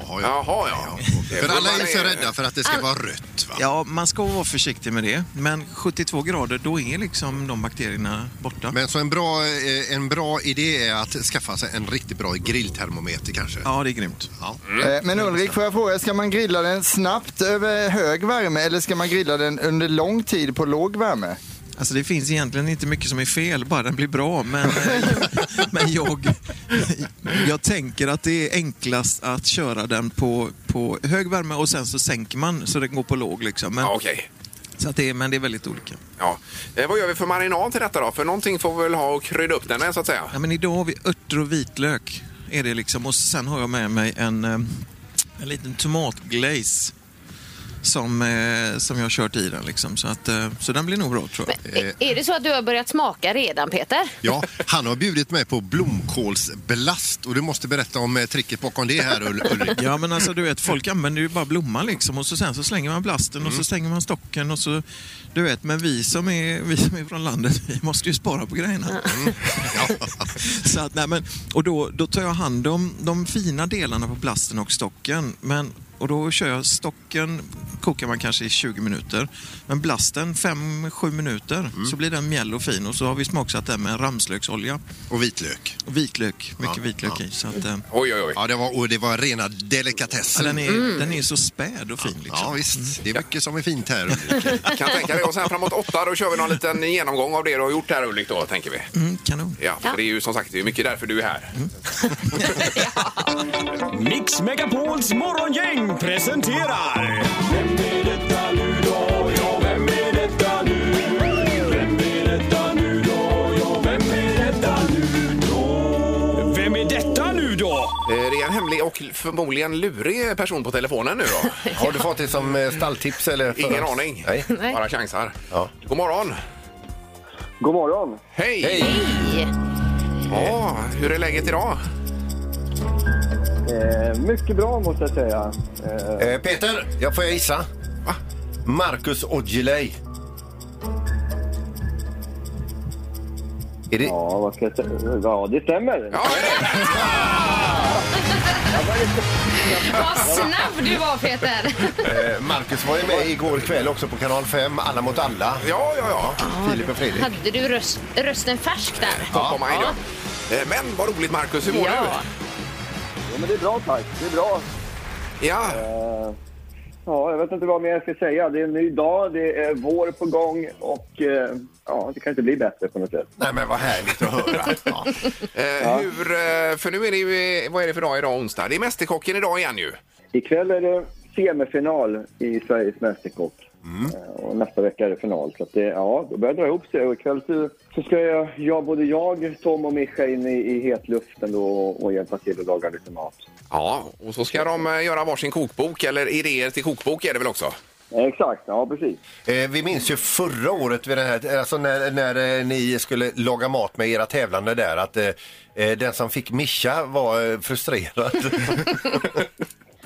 Speaker 11: Jaha, ja.
Speaker 3: Jaha, ja. Okej,
Speaker 11: För
Speaker 3: men
Speaker 11: alla
Speaker 3: man
Speaker 11: är så rädda för att det ska vara rött. Va?
Speaker 10: Ja, man ska vara försiktig med det. Men 72 grader, då är liksom de bakterierna borta.
Speaker 11: Men så en bra, eh, en bra idé är att skaffa sig en riktigt bra grilltermometer kanske.
Speaker 10: Ja, det är grymt.
Speaker 11: Ja.
Speaker 4: Mm.
Speaker 5: Eh, Men Ulrik, får jag fråga, ska man grilla den snabbt över hög värme eller ska man grilla den under lång tid på låg värme?
Speaker 10: Alltså det finns egentligen inte mycket som är fel, bara den blir bra. Men, eh, men jag, jag tänker att det är enklast att köra den på, på hög värme och sen så sänker man så den går på låg. Liksom. Men
Speaker 3: Ja, okej.
Speaker 10: Så att det är, men det är väldigt olika.
Speaker 3: Ja. Eh, vad gör vi för marinad till detta då? För någonting får vi väl ha och krydda upp den med så att säga.
Speaker 10: Ja, men idag har vi örter och vitlök. Är det liksom. Och sen har jag med mig en, eh, en liten tomatglaze. Som, eh, som jag har kört i den liksom. Så, att, eh, så den blir nog bra tror jag.
Speaker 6: Är- Är det så att du har börjat smaka redan, Peter?
Speaker 11: Ja, han har bjudit mig på blomkålsblast och du måste berätta om eh, tricket bakom det här Ul- Ulrik.
Speaker 10: Ja men alltså du vet, folk använder ju bara blomman liksom och så sen så slänger man blasten
Speaker 11: Mm.
Speaker 10: och så stänger man stocken och så, du vet, men vi som är, vi som är från landet, vi måste ju spara på grejerna.
Speaker 11: Mm.
Speaker 10: så att, nej, men, och då, då tar jag hand om de fina delarna på blasten och stocken, men och då kör jag stocken, kokar man kanske i 20 minuter. Men blasten 5-7 minuter,
Speaker 11: Mm.
Speaker 10: så blir den mjäll och fin. Och så har vi smaksatt den med ramslöksolja.
Speaker 11: Och vitlök.
Speaker 10: Och vitlök, mycket vitlök i. Så att, eh,
Speaker 3: Oj, oj, oj.
Speaker 11: Ja, det var, och det var rena
Speaker 10: Ja,
Speaker 11: delikatessen.
Speaker 10: den, är, den är så späd och fin. Liksom.
Speaker 11: Ja, visst. Det är mycket som är fint här Ulrik.
Speaker 3: Kan tänka mig. Och sen framåt åtta då kör vi någon liten genomgång av det du har gjort här Ulrik då tänker vi.
Speaker 10: Mm, kanon.
Speaker 3: Ja, för det är ju som sagt det är mycket därför du är här.
Speaker 1: Mix Megapols morgongäng presenterar... Vem är detta nu då? Ja, vem är detta nu? Vem är detta nu då? Ja, vem är detta nu då? Vem är detta nu då?
Speaker 3: Eh, Det är en hemlig och förmodligen lurig person på telefonen nu då.
Speaker 4: Har du fått det som eh, stalltips? Eller för-
Speaker 3: Ingen aning.
Speaker 4: Nej.
Speaker 6: Nej.
Speaker 3: Bara chansar.
Speaker 4: Ja.
Speaker 3: God morgon!
Speaker 1: God morgon.
Speaker 3: Hej!
Speaker 4: Hej!
Speaker 6: Nej.
Speaker 3: Ja, hur är läget idag?
Speaker 1: Eh, mycket bra måste jag säga.
Speaker 4: Eh, Peter, jag får jag gissa?
Speaker 3: Va?
Speaker 4: Marcus Aujalay. Är det...
Speaker 1: Ja, vad ska jag säga? Ja, det stämmer.
Speaker 3: Ja, hej!
Speaker 6: Vad snabb du var, Peter!
Speaker 4: Eh, Marcus var ju med igår kväll också på kanal 5, Alla mot alla.
Speaker 3: ja, ja. ja.
Speaker 4: Filip och Fredrik.
Speaker 6: Hade du röst, rösten färsk där?
Speaker 3: Top of mind, ja. Eh, Men vad roligt Marcus, hur mår
Speaker 6: Ja.
Speaker 1: Ja, men det är bra tack. Det är bra.
Speaker 3: du? Ja,
Speaker 1: Eh, Ja, jag vet inte vad mer jag ska säga. Det är en ny dag, det är vår på gång och eh, ja, det kan inte bli bättre på något sätt.
Speaker 4: Nej men vad härligt att höra. Ja.
Speaker 3: Eh, hur, eh, för nu är det ju, vad är det för dag idag onsdag? Det är Mästerkocken idag igen ju.
Speaker 1: Ikväll är det semifinal i Sveriges Mästerkock Eh, och nästa vecka är det final. Så att det, ja, då börjar det dra ihop sig och ikväll så, så ska jag, jag, både jag, Tom och Mischa in i, i hetluften då och, och hjälpa till och laga lite mat.
Speaker 3: Ja, och så ska de eh, göra varsin kokbok, eller idéer till kokbok är det väl också?
Speaker 1: Eh, Exakt, ja precis.
Speaker 4: Eh, vi minns ju förra året vid den här, alltså när, när eh, ni skulle laga mat med era tävlande där att eh, eh, den som fick Mischa var eh, frustrerad.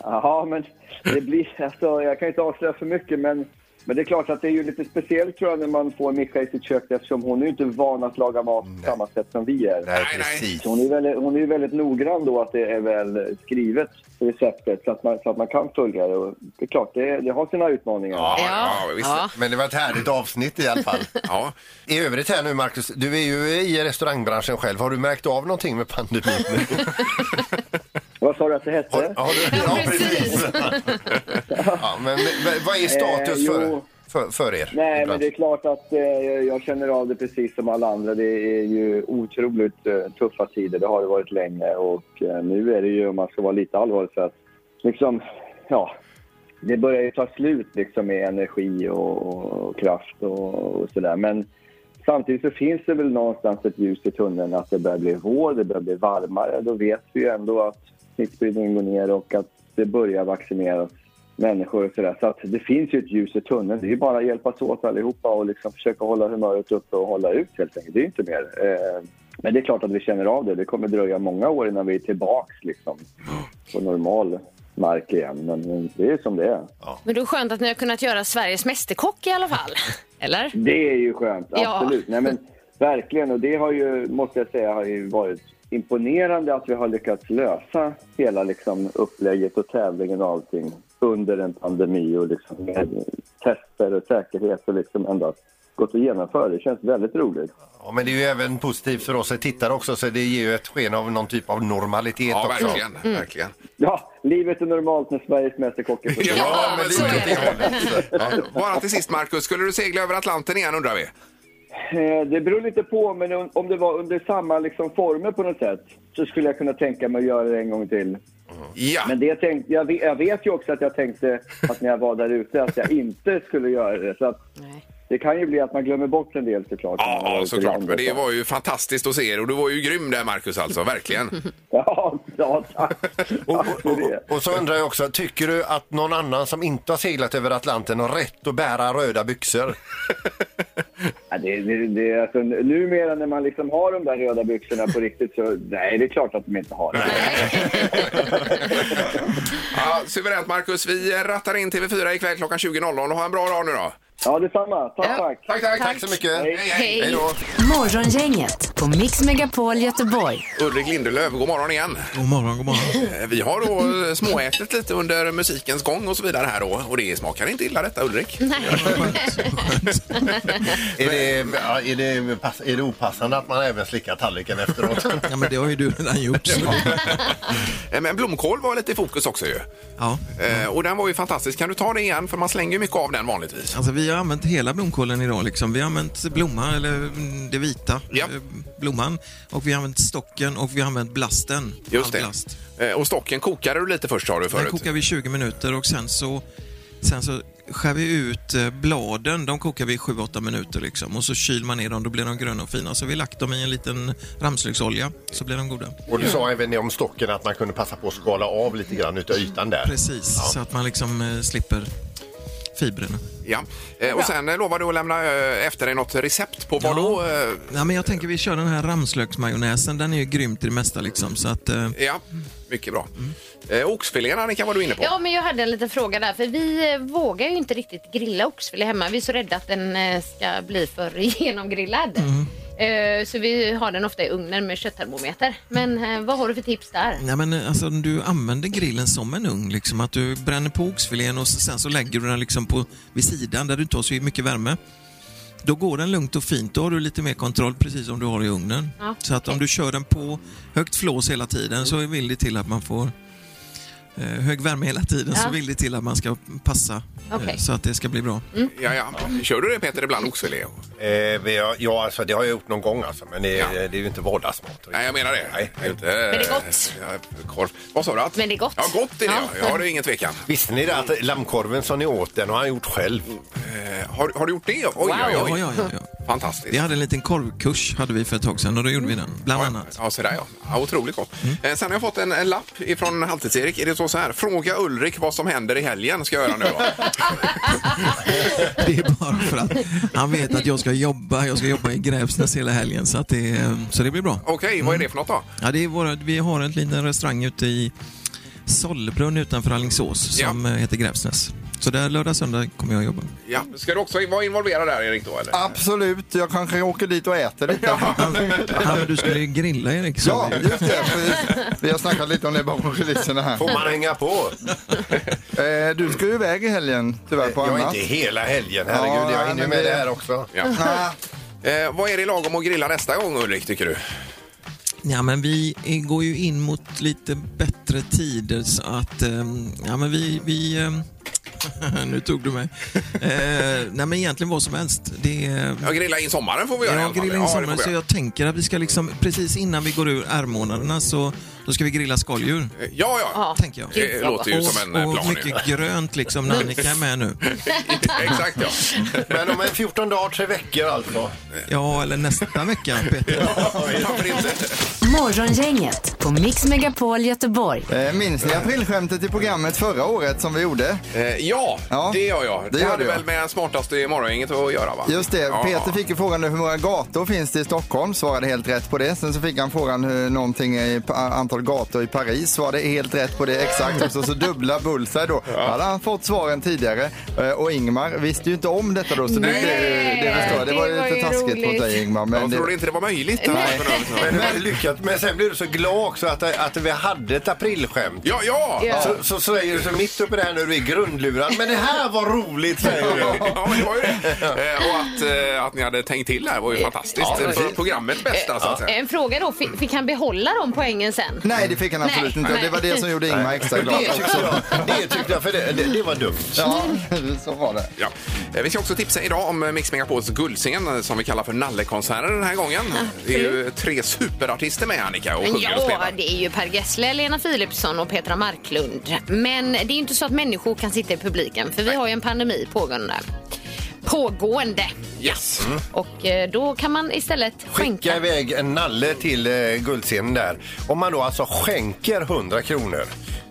Speaker 1: Jaha, men det blir, alltså, jag kan inte avslöja för mycket, men, men det är klart att det är ju lite speciellt tror jag när man får Mischa i sitt kök eftersom hon är ju inte van att laga mat på samma sätt som vi är.
Speaker 4: Nej,
Speaker 3: nej.
Speaker 4: precis.
Speaker 1: Så hon är ju väldigt, hon är ju väldigt noggrann då att det är väl skrivet receptet så att man, så att man kan följa det. Och det är klart, det, det har sina utmaningar.
Speaker 3: ja, visst.
Speaker 4: Men det var ett härligt avsnitt i alla fall.
Speaker 3: Ja.
Speaker 4: I övrigt här nu Marcus, du är ju i restaurangbranschen själv. Har du märkt av någonting med pandemin?
Speaker 1: Vad sa du att det hette?
Speaker 4: Har, har du,
Speaker 6: Ja, precis.
Speaker 4: ja, men, men vad är status
Speaker 1: Eh,
Speaker 4: för,
Speaker 1: jo.
Speaker 4: för, för er?
Speaker 1: Nej, men det är klart att eh, jag känner av det precis som alla andra. Det är ju otroligt eh, tuffa tider. Det har det varit länge och eh, nu är det ju, om man ska vara lite allvarlig, så att liksom, ja, det börjar ju ta slut liksom med energi och, och kraft och, och sådär. Men samtidigt så finns det väl någonstans ett ljus i tunneln att det börjar bli vår, det börjar bli varmare. Då vet vi ju ändå att smittspridningen går ner och att det börjar vaccineras människor och sådär. Så att det finns ju ett ljus i tunneln. Det är ju bara att hjälpas åt allihopa och liksom försöka hålla humöret uppe och hålla ut helt enkelt. Det är ju inte mer. Eh, Men det är klart att vi känner av det. Det kommer dröja många år innan vi är tillbaks liksom på normal mark igen. Men men det är som det är.
Speaker 6: Men då är det skönt att ni har kunnat göra Sveriges Mästerkock i alla fall. Eller?
Speaker 1: Det är ju skönt,
Speaker 6: Ja.
Speaker 1: absolut. Nej, men, verkligen, och det har ju, måste jag säga, har ju varit imponerande att vi har lyckats lösa hela liksom, upplägget och tävlingen och allting under en pandemi och liksom, med tester och säkerhet och liksom ändå gått att genomföra. Det känns väldigt roligt.
Speaker 4: Ja, men det är ju även positivt för oss som tittare också så det ger ju ett sken av någon typ av normalitet
Speaker 3: Ja,
Speaker 4: också.
Speaker 3: verkligen. Mm. verkligen.
Speaker 1: Ja, livet är normalt när Sveriges Mästerkock är på
Speaker 3: Ja,
Speaker 6: Ja,
Speaker 3: men
Speaker 6: så
Speaker 3: lite
Speaker 6: är det.
Speaker 3: Ja. Bara till sist, Marcus. Skulle du segla över Atlanten igen, undrar vi?
Speaker 1: Eh, Det beror lite på, men om- om det var under samma liksom, former på något sätt så skulle jag kunna tänka mig att göra det en gång till.
Speaker 3: Ja.
Speaker 1: Men det tänkte, jag, vet, jag vet ju också att jag tänkte att när jag var där ute att jag inte skulle göra det. Så att det kan ju bli att man glömmer bort en del såklart. när man var
Speaker 3: Ja,
Speaker 1: ute i
Speaker 3: såklart.
Speaker 1: landet.
Speaker 3: Men det var ju fantastiskt att se er och du var ju grym där Marcus alltså, verkligen.
Speaker 1: Ja, ja tack.
Speaker 4: Och så undrar jag också, tycker du att någon annan som inte har seglat över Atlanten har rätt att bära röda byxor?
Speaker 1: Ja, det, det, det, alltså, numera när man liksom har de där röda byxorna på riktigt så nej, det är klart att de inte har det.
Speaker 3: Ja, suveränt Marcus, vi rattar in TV4 ikväll klockan 20.00 och ha en bra dag nu då.
Speaker 1: Ja, detsamma. Tack, tack.
Speaker 3: Tack, tack. Tack så mycket. Hej,
Speaker 2: Hej.
Speaker 3: Hej då.
Speaker 2: Morgongänget på Mix Megapol Göteborg.
Speaker 3: Ulrik Lindelöf, god morgon igen.
Speaker 10: God morgon, god morgon.
Speaker 3: Eh, Vi har då eh, småätit lite under musikens gång och så vidare här då. Och det smakar inte illa detta Ulrik.
Speaker 4: Är det, ja, är, det, pass- är det opassande att man även slickar tallriken efteråt?
Speaker 10: Ja, men det har ju du redan gjort.
Speaker 3: Eh, Men blomkål var lite i fokus också ju.
Speaker 10: Ja.
Speaker 3: Eh, Och den var ju fantastisk. Kan du ta det igen? För man slänger ju mycket av den vanligtvis.
Speaker 10: Alltså, vi har använt hela blomkålen idag. Liksom. Vi har använt blomma, eller mm, det vita,
Speaker 3: Ja.
Speaker 10: eh, blomman. Och vi har använt stocken och vi har använt blasten.
Speaker 3: Just
Speaker 10: All
Speaker 3: det.
Speaker 10: Blast.
Speaker 3: Eh, Och stocken kokade du lite först sa du
Speaker 10: Den
Speaker 3: förut.
Speaker 10: kokar vi i 20 minuter och sen så, sen så skär vi ut eh, bladen. De kokar vi i 7-8 minuter liksom. Och så kyl man ner dem, då blir de gröna och fina. Så har vi lagt dem i en liten ramslöksolja, så blir de goda.
Speaker 4: Och du sa även det om stocken att man kunde passa på att skala av lite grann utav ytan där.
Speaker 10: Precis, så att man liksom eh, slipper fibrerna.
Speaker 3: Ja. Eh, Och sen eh, lovade du att lämna eh, efter dig något recept på vad då? Eh,
Speaker 10: Ja, men jag tänker vi kör den här ramslöksmajonnäsen. Den är ju grym till det mesta liksom. Så att, eh,
Speaker 3: Ja, mycket bra. Eh, Oxfilén Annika var du inne på.
Speaker 6: Ja, men jag hade en liten fråga där. För vi eh, vågar ju inte riktigt grilla oxfilé hemma. Vi är så rädda att den eh, ska bli för genomgrillad.
Speaker 3: Mm.
Speaker 6: Eh, Så vi har den ofta i ugnen med kötttermometer. Men eh, vad har du för tips där?
Speaker 10: Nej, men eh, alltså, du använder grillen som en ugn, liksom, att du bränner på oxfilén och sen så lägger du den liksom på, vid sidan där du inte har så mycket värme. Då går den lugnt och fint, då har du lite mer kontroll precis som du har i ugnen.
Speaker 6: Ja,
Speaker 10: så att om du kör den på högt flås hela tiden så vill det till att man får eh, hög värme hela tiden så
Speaker 6: Ja.
Speaker 10: vill det till att man ska passa
Speaker 6: Okej.
Speaker 10: eh, så att det ska bli bra.
Speaker 3: Ja, ja. Kör du det Peter ibland oxfilé?
Speaker 4: Eh, men jag- ja, alltså, det har jag gjort någon gång alltså, men det, det är ju inte vardagsmat.
Speaker 3: Nej, jag menar det. Nej. Inte, eh, Men
Speaker 6: det är gott.
Speaker 3: Korv. Vad sa du? Att?
Speaker 6: Men det är gott.
Speaker 3: Ja, gott är det. Ja. Jag har det ingen tvekan.
Speaker 4: Visste ni det att lammkorven som ni åt, den har han gjort själv.
Speaker 3: Eh, Har, har du gjort det? Oj, oj,
Speaker 10: Ja,
Speaker 3: oj.
Speaker 10: ja, ja, ja.
Speaker 3: Fantastiskt.
Speaker 10: Vi hade en liten korvkurs hade vi för ett tag sedan och då gjorde vi den, bland annat.
Speaker 3: Ja, så där, ja. ja. Otroligt gott. Eh, Sen har jag fått en, en lapp ifrån Halvtids-Erik. Är det så, så här? Fråga Ulrik vad som händer i helgen ska jag göra nu då.
Speaker 10: Det är bara för att han vet att jag ska jobba, jag ska jobba i Grävsnäs hela helgen så, att det, så det blir bra. Mm.
Speaker 3: Okej, vad är det för något då?
Speaker 10: Ja, det är våra, vi har en liten restaurang ute i Sollebrunn utanför Alingsås som eh, heter Grävsnäs. Så där lördag söndag kommer jag jobba.
Speaker 3: Ja. Ska du också vara involverad där Erik då eller?
Speaker 5: Absolut, jag kanske åker dit och äter lite.
Speaker 10: Ja, men du skulle ju grilla Erik. sa
Speaker 5: Ja,
Speaker 10: vi ju.
Speaker 5: just det. precis. Vi har snackat lite om det bakom kulisserna här.
Speaker 4: Får man hänga på?
Speaker 5: Eh, Du ska ju iväg i helgen tyvärr på
Speaker 4: Jag är
Speaker 5: annat.
Speaker 4: inte hela helgen, herregud. Jag
Speaker 5: Ja,
Speaker 4: hinner
Speaker 5: men
Speaker 4: med
Speaker 5: det-
Speaker 4: det här också.
Speaker 5: Ah,
Speaker 3: Eh, vad är det lagom att grilla nästa gång Ulrik tycker du?
Speaker 10: Ja, men vi eh, går ju in mot lite bättre tider så att ehm, ja, men vi... vi ehm, nu tog du mig. Eh, nej, men egentligen vad som helst. Det, är-
Speaker 3: Ja, grilla in sommaren får vi göra i
Speaker 10: Ja,
Speaker 3: alla fall.
Speaker 10: grilla in
Speaker 3: det får
Speaker 10: sommaren.
Speaker 3: vi
Speaker 10: Så
Speaker 3: göra.
Speaker 10: jag tänker att vi ska liksom, precis innan vi går ur R-månaderna så då ska vi grilla skaldjur.
Speaker 3: Eh, Ja, ja.
Speaker 6: Ja.
Speaker 10: Tänker jag.
Speaker 3: Det låter ju som en eh,
Speaker 10: och
Speaker 3: plan. ju.
Speaker 10: mycket grönt liksom när Annika är med nu.
Speaker 3: Exakt ja.
Speaker 4: Men om en 14 dagar, tre veckor alltså.
Speaker 10: Ja, eller nästa vecka Peter.
Speaker 3: Varför inte?
Speaker 2: Morgongänget på Mix Megapol Göteborg.
Speaker 5: eh, Minns ni aprilskämtet i programmet förra året som vi gjorde?
Speaker 3: Eh, ja,
Speaker 5: Ja,
Speaker 3: det gör jag. Det,
Speaker 5: det gör
Speaker 3: hade
Speaker 5: du, ja.
Speaker 3: väl med smartaste i morgongänget att göra va?
Speaker 5: Just det,
Speaker 3: Ja.
Speaker 5: Peter fick ju frågan hur många gator finns det i Stockholm, svarade helt rätt på det. Sen så fick han frågan hur någonting i pa- antal gator i Paris, svarade helt rätt på det exakt. Och så, så dubbla bullseye då. Då hade han fått svaren tidigare. Eh, Och Ingmar visste ju inte om detta då, så det,
Speaker 3: Nej,
Speaker 5: det, det förstår jag. Det var ju
Speaker 6: det var ju
Speaker 5: lite taskigt
Speaker 6: roligt.
Speaker 5: mot dig Ingmar. Men
Speaker 3: jag
Speaker 5: det,
Speaker 3: trodde inte det var möjligt. alltså,
Speaker 4: Men, det var lyckat. men sen blev du så glad också att, att vi hade ett aprilskämt.
Speaker 3: Ja, ja!
Speaker 6: Ja.
Speaker 4: Så, så säger du så mitt uppe i det här när du är grundlurad. Men det här var roligt säger du.
Speaker 3: Ja, men det var ju det. Eh, Och att, eh, att ni hade tänkt
Speaker 4: Eh,
Speaker 3: till här var ju fantastiskt.
Speaker 6: Ja,
Speaker 3: För
Speaker 6: precis.
Speaker 3: programmets bästa så att säga.
Speaker 6: En fråga då, fick, fick han behålla de poängen sen?
Speaker 5: Nej, det fick han absolut
Speaker 4: Nej.
Speaker 5: inte. Det var det som gjorde Ingmar extra glad.
Speaker 4: eh, Det tyckte jag, det tyckte jag för det, det, det var dumt.
Speaker 5: Ja, så var det.
Speaker 3: Ja. Eh, Vi ska också tipsa idag om eh, Mix Megapols guldscen eh, som vi kallar för Nallekonserter den här gången.
Speaker 4: Ah,
Speaker 3: Det är ju tre superartister med Annika och
Speaker 6: Men
Speaker 3: sjunger och
Speaker 6: ja,
Speaker 3: spelar.
Speaker 6: det är ju Per Gessle, Lena Philipsson och Petra Marklund. Men det är ju inte så att människor kan sitta i publiken för vi har ju en pandemi pågående. Pågående.
Speaker 3: Yes.
Speaker 4: Mm.
Speaker 6: Och eh, då kan man istället skänka.
Speaker 4: Skicka iväg en nalle till eh, guldscenen där. Om man då alltså skänker 100 kronor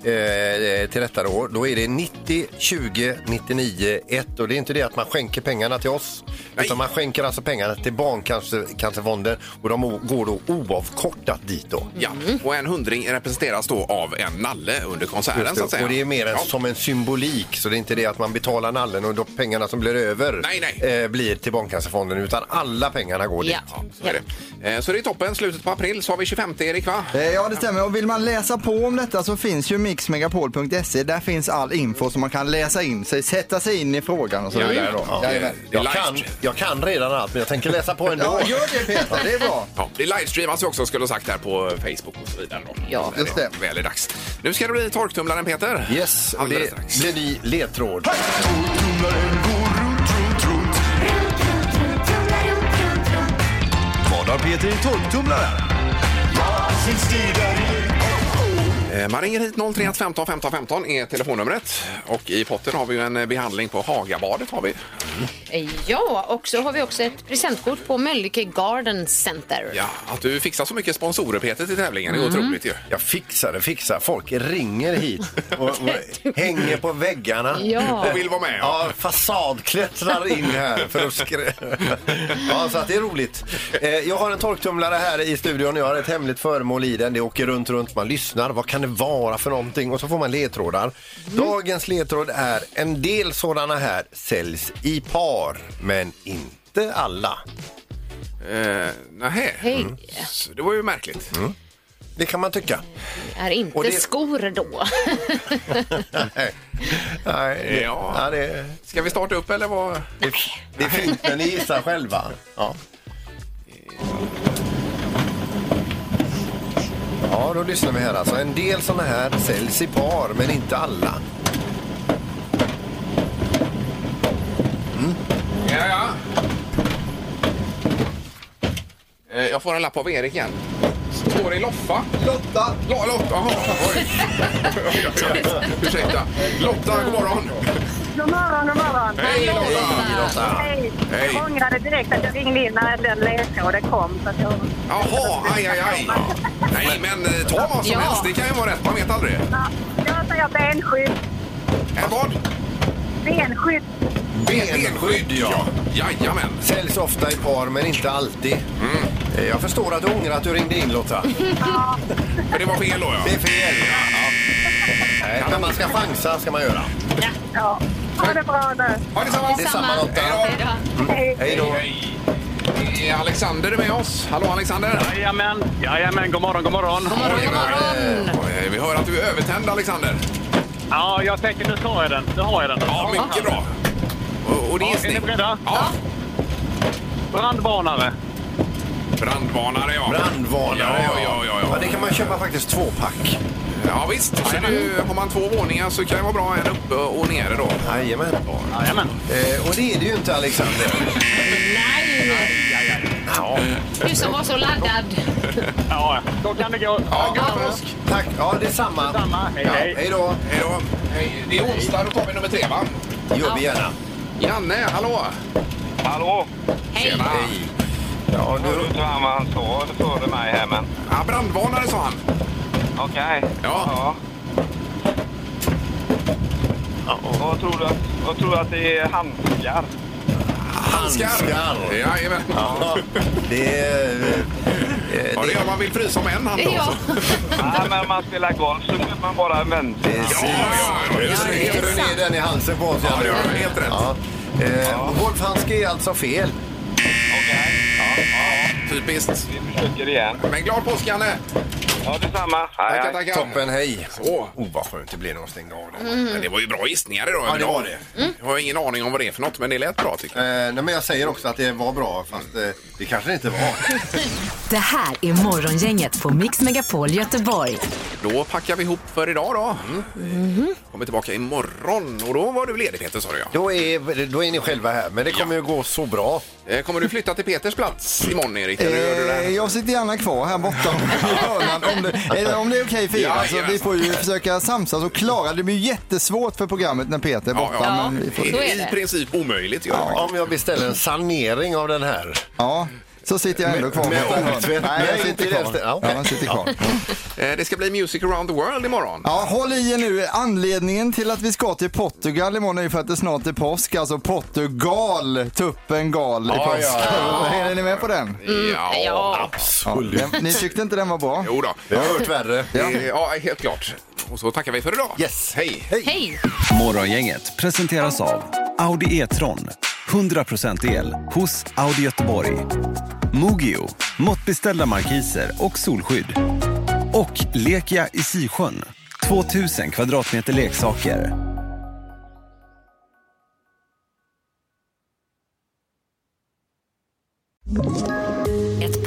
Speaker 4: eh, eh, till detta då, då är det 90 20 99 1 och det är inte det att man skänker pengarna till oss utan man skänker alltså pengarna till Barncancerfonden och de o- går då oavkortat dit då.
Speaker 3: Ja, och en hundring representeras då av en nalle under konserten
Speaker 4: Just
Speaker 3: så att
Speaker 4: det.
Speaker 3: säga.
Speaker 4: Och det är mer en, som en symbolik så det är inte det att man betalar nallen och då pengarna som blir över Eh, blir till Barncancerfonden utan alla pengarna går dit.
Speaker 3: Ja, så är det. Eh, Så det är toppen. Slutet på april så har vi 25 Erik va?
Speaker 5: Eh, Ja, det stämmer. Och vill man läsa på om detta så finns ju mixmegapol.se. Där finns all info som man kan läsa in sig, sätta sig in i frågan
Speaker 3: Alltså,
Speaker 5: och så vidare. Då.
Speaker 4: Ja,
Speaker 5: Jajamän.
Speaker 4: jag, kan, jag kan redan allt, men jag tänker läsa på ändå.
Speaker 5: Ja, gör det Peter. Det är bra.
Speaker 3: Ja, det livestreamas ju också skulle jag ha sagt här på Facebook och så vidare. Då. Ja,
Speaker 4: just det.
Speaker 3: Väl är dags. Nu ska det bli torktumlaren Peter.
Speaker 4: Yes, och
Speaker 3: Alldeles
Speaker 4: det
Speaker 3: strax.
Speaker 4: blir ny ledtråd.
Speaker 3: Vad har Peter i torktumlaren? Eh, Man ringer hit 031 15 15 15 är telefonnumret. Och i potten har vi ju en eh, behandling på Hagabadet har vi.
Speaker 4: Mm.
Speaker 6: Eh, Ja, och så har vi också ett presentkort på Mölnlycke Garden Center.
Speaker 3: Ja, att du fixar så mycket sponsorer Peter till tävlingen, det är
Speaker 6: Mm.
Speaker 3: otroligt ju.
Speaker 4: Jag fixar det, fixar. Folk ringer hit och, och hänger på väggarna.
Speaker 3: Ja. Och vill vara med, ja.
Speaker 4: Ja, fasadklättrar in här för att skrä... Ja, så att det är roligt. Eh, Jag har en torktumlare här i studion. Jag har ett hemligt föremål i den. Det åker runt, runt. Man lyssnar. Vad kan det vara för någonting? Och så får man ledtrådar. Dagens ledtråd är en del sådana här säljs i par, men inte alla.
Speaker 3: Eh, Nähä.
Speaker 6: Hej.
Speaker 3: Så Det var ju märkligt.
Speaker 4: Mm. Det kan man tycka.
Speaker 6: Är inte
Speaker 4: Och det-
Speaker 6: skor då?
Speaker 4: Nej,
Speaker 3: Ja.
Speaker 4: ja, det...
Speaker 3: Ska vi starta upp eller vad?
Speaker 4: Det, det är fint när ni gissar själva. Ja. Ja, då lyssnar vi här alltså. En del sådana här säljs i par, men inte alla.
Speaker 3: Ja, ja. Eh, Jag får en lapp av Erik igen. Står i Loffa.
Speaker 5: Lotta!
Speaker 3: Lo- Lotta, jaha. Oj. Oj, oj, oj. Ursäkta. Lotta, god morgon.
Speaker 8: God morgon, god morgon.
Speaker 3: Hej, Lotta. Hej, Lotta.
Speaker 8: Hej.
Speaker 3: Hej.
Speaker 8: Jag ångrade direkt att jag ringde in när den ledtråden kom. Så att jag...
Speaker 3: Jaha, aj, aj, aj. Nej, men eh, ta vad som
Speaker 8: Ja.
Speaker 3: helst. Det kan ju vara rätt. Man vet aldrig.
Speaker 8: Jag säger benskydd.
Speaker 3: En vad?
Speaker 8: Benskydd.
Speaker 3: Benskydd, ja. Jajamän. Mm.
Speaker 4: Säljs ofta i par, men inte alltid. Eh, Jag förstår att du ångrar att du ringde in, Lotta.
Speaker 8: Ja.
Speaker 3: För det var fel då, ja.
Speaker 4: Det är fel. Nej, men man ska chansa, ska man göra.
Speaker 8: ja. Ha det bra nu.
Speaker 3: Ha detsamma.
Speaker 4: Detsamma, Lotta.
Speaker 8: Hej.
Speaker 4: Hej då.
Speaker 3: Eh, Alexander är med oss. Hallå, Alexander.
Speaker 12: Jajamän, jajamän, god morgon, god morgon. God morgon, god morgon.
Speaker 3: Eh, Vi hör att du är övertänd, Alexander.
Speaker 12: Ja, jag tänker nu tar jag den. Nu har jag den.
Speaker 3: Ja, mycket bra. Och, och det är
Speaker 12: Är ni
Speaker 3: gissning.
Speaker 12: beredda?
Speaker 3: Ja.
Speaker 12: Brandvarnare.
Speaker 3: Brandvarnare, ja.
Speaker 4: Brandvarnare,
Speaker 3: ja. Ja, ja, ja.
Speaker 4: Ja, det kan man köpa faktiskt två pack.
Speaker 3: Ja, visst. Så är det ju, har man två våningar så kan det vara bra en uppe och nere då.
Speaker 4: Jajamän.
Speaker 12: Jajamän.
Speaker 4: Eh, Och det är det ju inte, Alexander. Ja.
Speaker 6: Du som var så laddad.
Speaker 12: Ja, då kan det gå.
Speaker 3: Ja, god påsk!
Speaker 4: Tack. Ja, detsamma.
Speaker 12: Detsamma. Hej,
Speaker 4: ja,
Speaker 12: hej.
Speaker 4: hej då.
Speaker 3: Hej då. Hej. Det är onsdag, då tar vi nummer tre, va?
Speaker 4: Det gör vi gärna.
Speaker 3: Janne, hallå!
Speaker 12: Hallå?
Speaker 6: Hej.
Speaker 3: Tjena!
Speaker 4: Ja,
Speaker 12: Jag
Speaker 4: nu,
Speaker 12: inte han vad han sa före mig här, men
Speaker 3: Ja, brandvarnare sa han.
Speaker 12: okej.
Speaker 3: Ja.
Speaker 12: Vad tror du att, vad tror du att det är handskar?
Speaker 4: Handskar.
Speaker 3: Jajamän.
Speaker 4: ja, det är... eh,
Speaker 3: Ja, det
Speaker 4: Det,
Speaker 3: gör man vill frysa om en hand då.
Speaker 6: Ja.
Speaker 3: så.
Speaker 12: Nej, men om man spelar golf så glömmer man bara använda
Speaker 4: det är
Speaker 3: Ja, ja, ja, just det.
Speaker 4: Heter du ner den i halsen på oss,
Speaker 3: Ja,
Speaker 4: Janne?
Speaker 3: det gör du. Helt rätt.
Speaker 4: Ja. Eh, Golfhandske är alltså fel.
Speaker 12: Okej.
Speaker 3: Typiskt.
Speaker 12: Vi försöker igen.
Speaker 3: Men glad påsk, Janne!
Speaker 12: Ja, detsamma.
Speaker 4: Tackar, tackar. Toppen, hej. Åh, oh, vad skönt det blev när de stängde av dem.
Speaker 3: Mm. Men det var ju bra gissningar idag.
Speaker 4: Ja, det
Speaker 3: överlag.
Speaker 4: var det.
Speaker 3: Jag har ingen aning om vad det är för något, men det lät bra tycker jag.
Speaker 4: Eh, nej, men jag säger också att det var bra, fast eh, det kanske det inte var.
Speaker 2: Det här är Morgongänget på Mix Megapol Göteborg.
Speaker 3: Då packar vi ihop för idag då. Mm.
Speaker 2: Mhm.
Speaker 3: Kommer tillbaka imorgon och då var du ledig Peter sa du ja.
Speaker 4: Då är, då är ni själva här, men det kommer ju gå så bra.
Speaker 3: Eh, Kommer du flytta till Peters plats imorgon Erik? Eller gör du det?
Speaker 5: Eh, Jag sitter gärna kvar här borta i hörnan om det, eller om det är okej för er.
Speaker 3: Ja,
Speaker 5: alltså, vi får ju försöka samsas och klara. Det blir ju jättesvårt för programmet när Peter är borta. Men vi får...
Speaker 3: I princip omöjligt. gör det
Speaker 4: Ja, om jag beställer en sanering av den här.
Speaker 5: Ja, så sitter jag ändå kvar.
Speaker 4: Med
Speaker 5: borta i hörnan.
Speaker 4: omtvätt.
Speaker 5: Nej, jag
Speaker 4: Nej,
Speaker 5: sitter
Speaker 4: inte i
Speaker 5: kvar.
Speaker 4: det. Ja,
Speaker 5: Ja,
Speaker 4: okej.
Speaker 5: jag sitter kvar.
Speaker 3: Eh, Det ska bli Music around the world imorgon.
Speaker 5: Ja, håll i er nu. Anledningen till att vi ska till Portugal imorgon är ju för att det snart är påsk. Alltså Portugal, tuppen gal i
Speaker 3: Ja, ja,
Speaker 5: påsk.
Speaker 3: ja.
Speaker 5: Är ni med på den?
Speaker 3: Mm, Ja, absolut.
Speaker 5: den- Ni tyckte inte den var bra?
Speaker 3: Jo då.
Speaker 4: Jag har hört värre.
Speaker 3: Ja. ja, helt klart. Och så tackar vi för idag. Yes. Hej.
Speaker 6: Hej!
Speaker 13: Morgongänget presenteras av Audi E-tron. 100% el hos Audi Göteborg. Mogio, måttbeställda markiser och solskydd. Och Lekia i Sisjön, 2000 kvadratmeter leksaker.
Speaker 2: Ett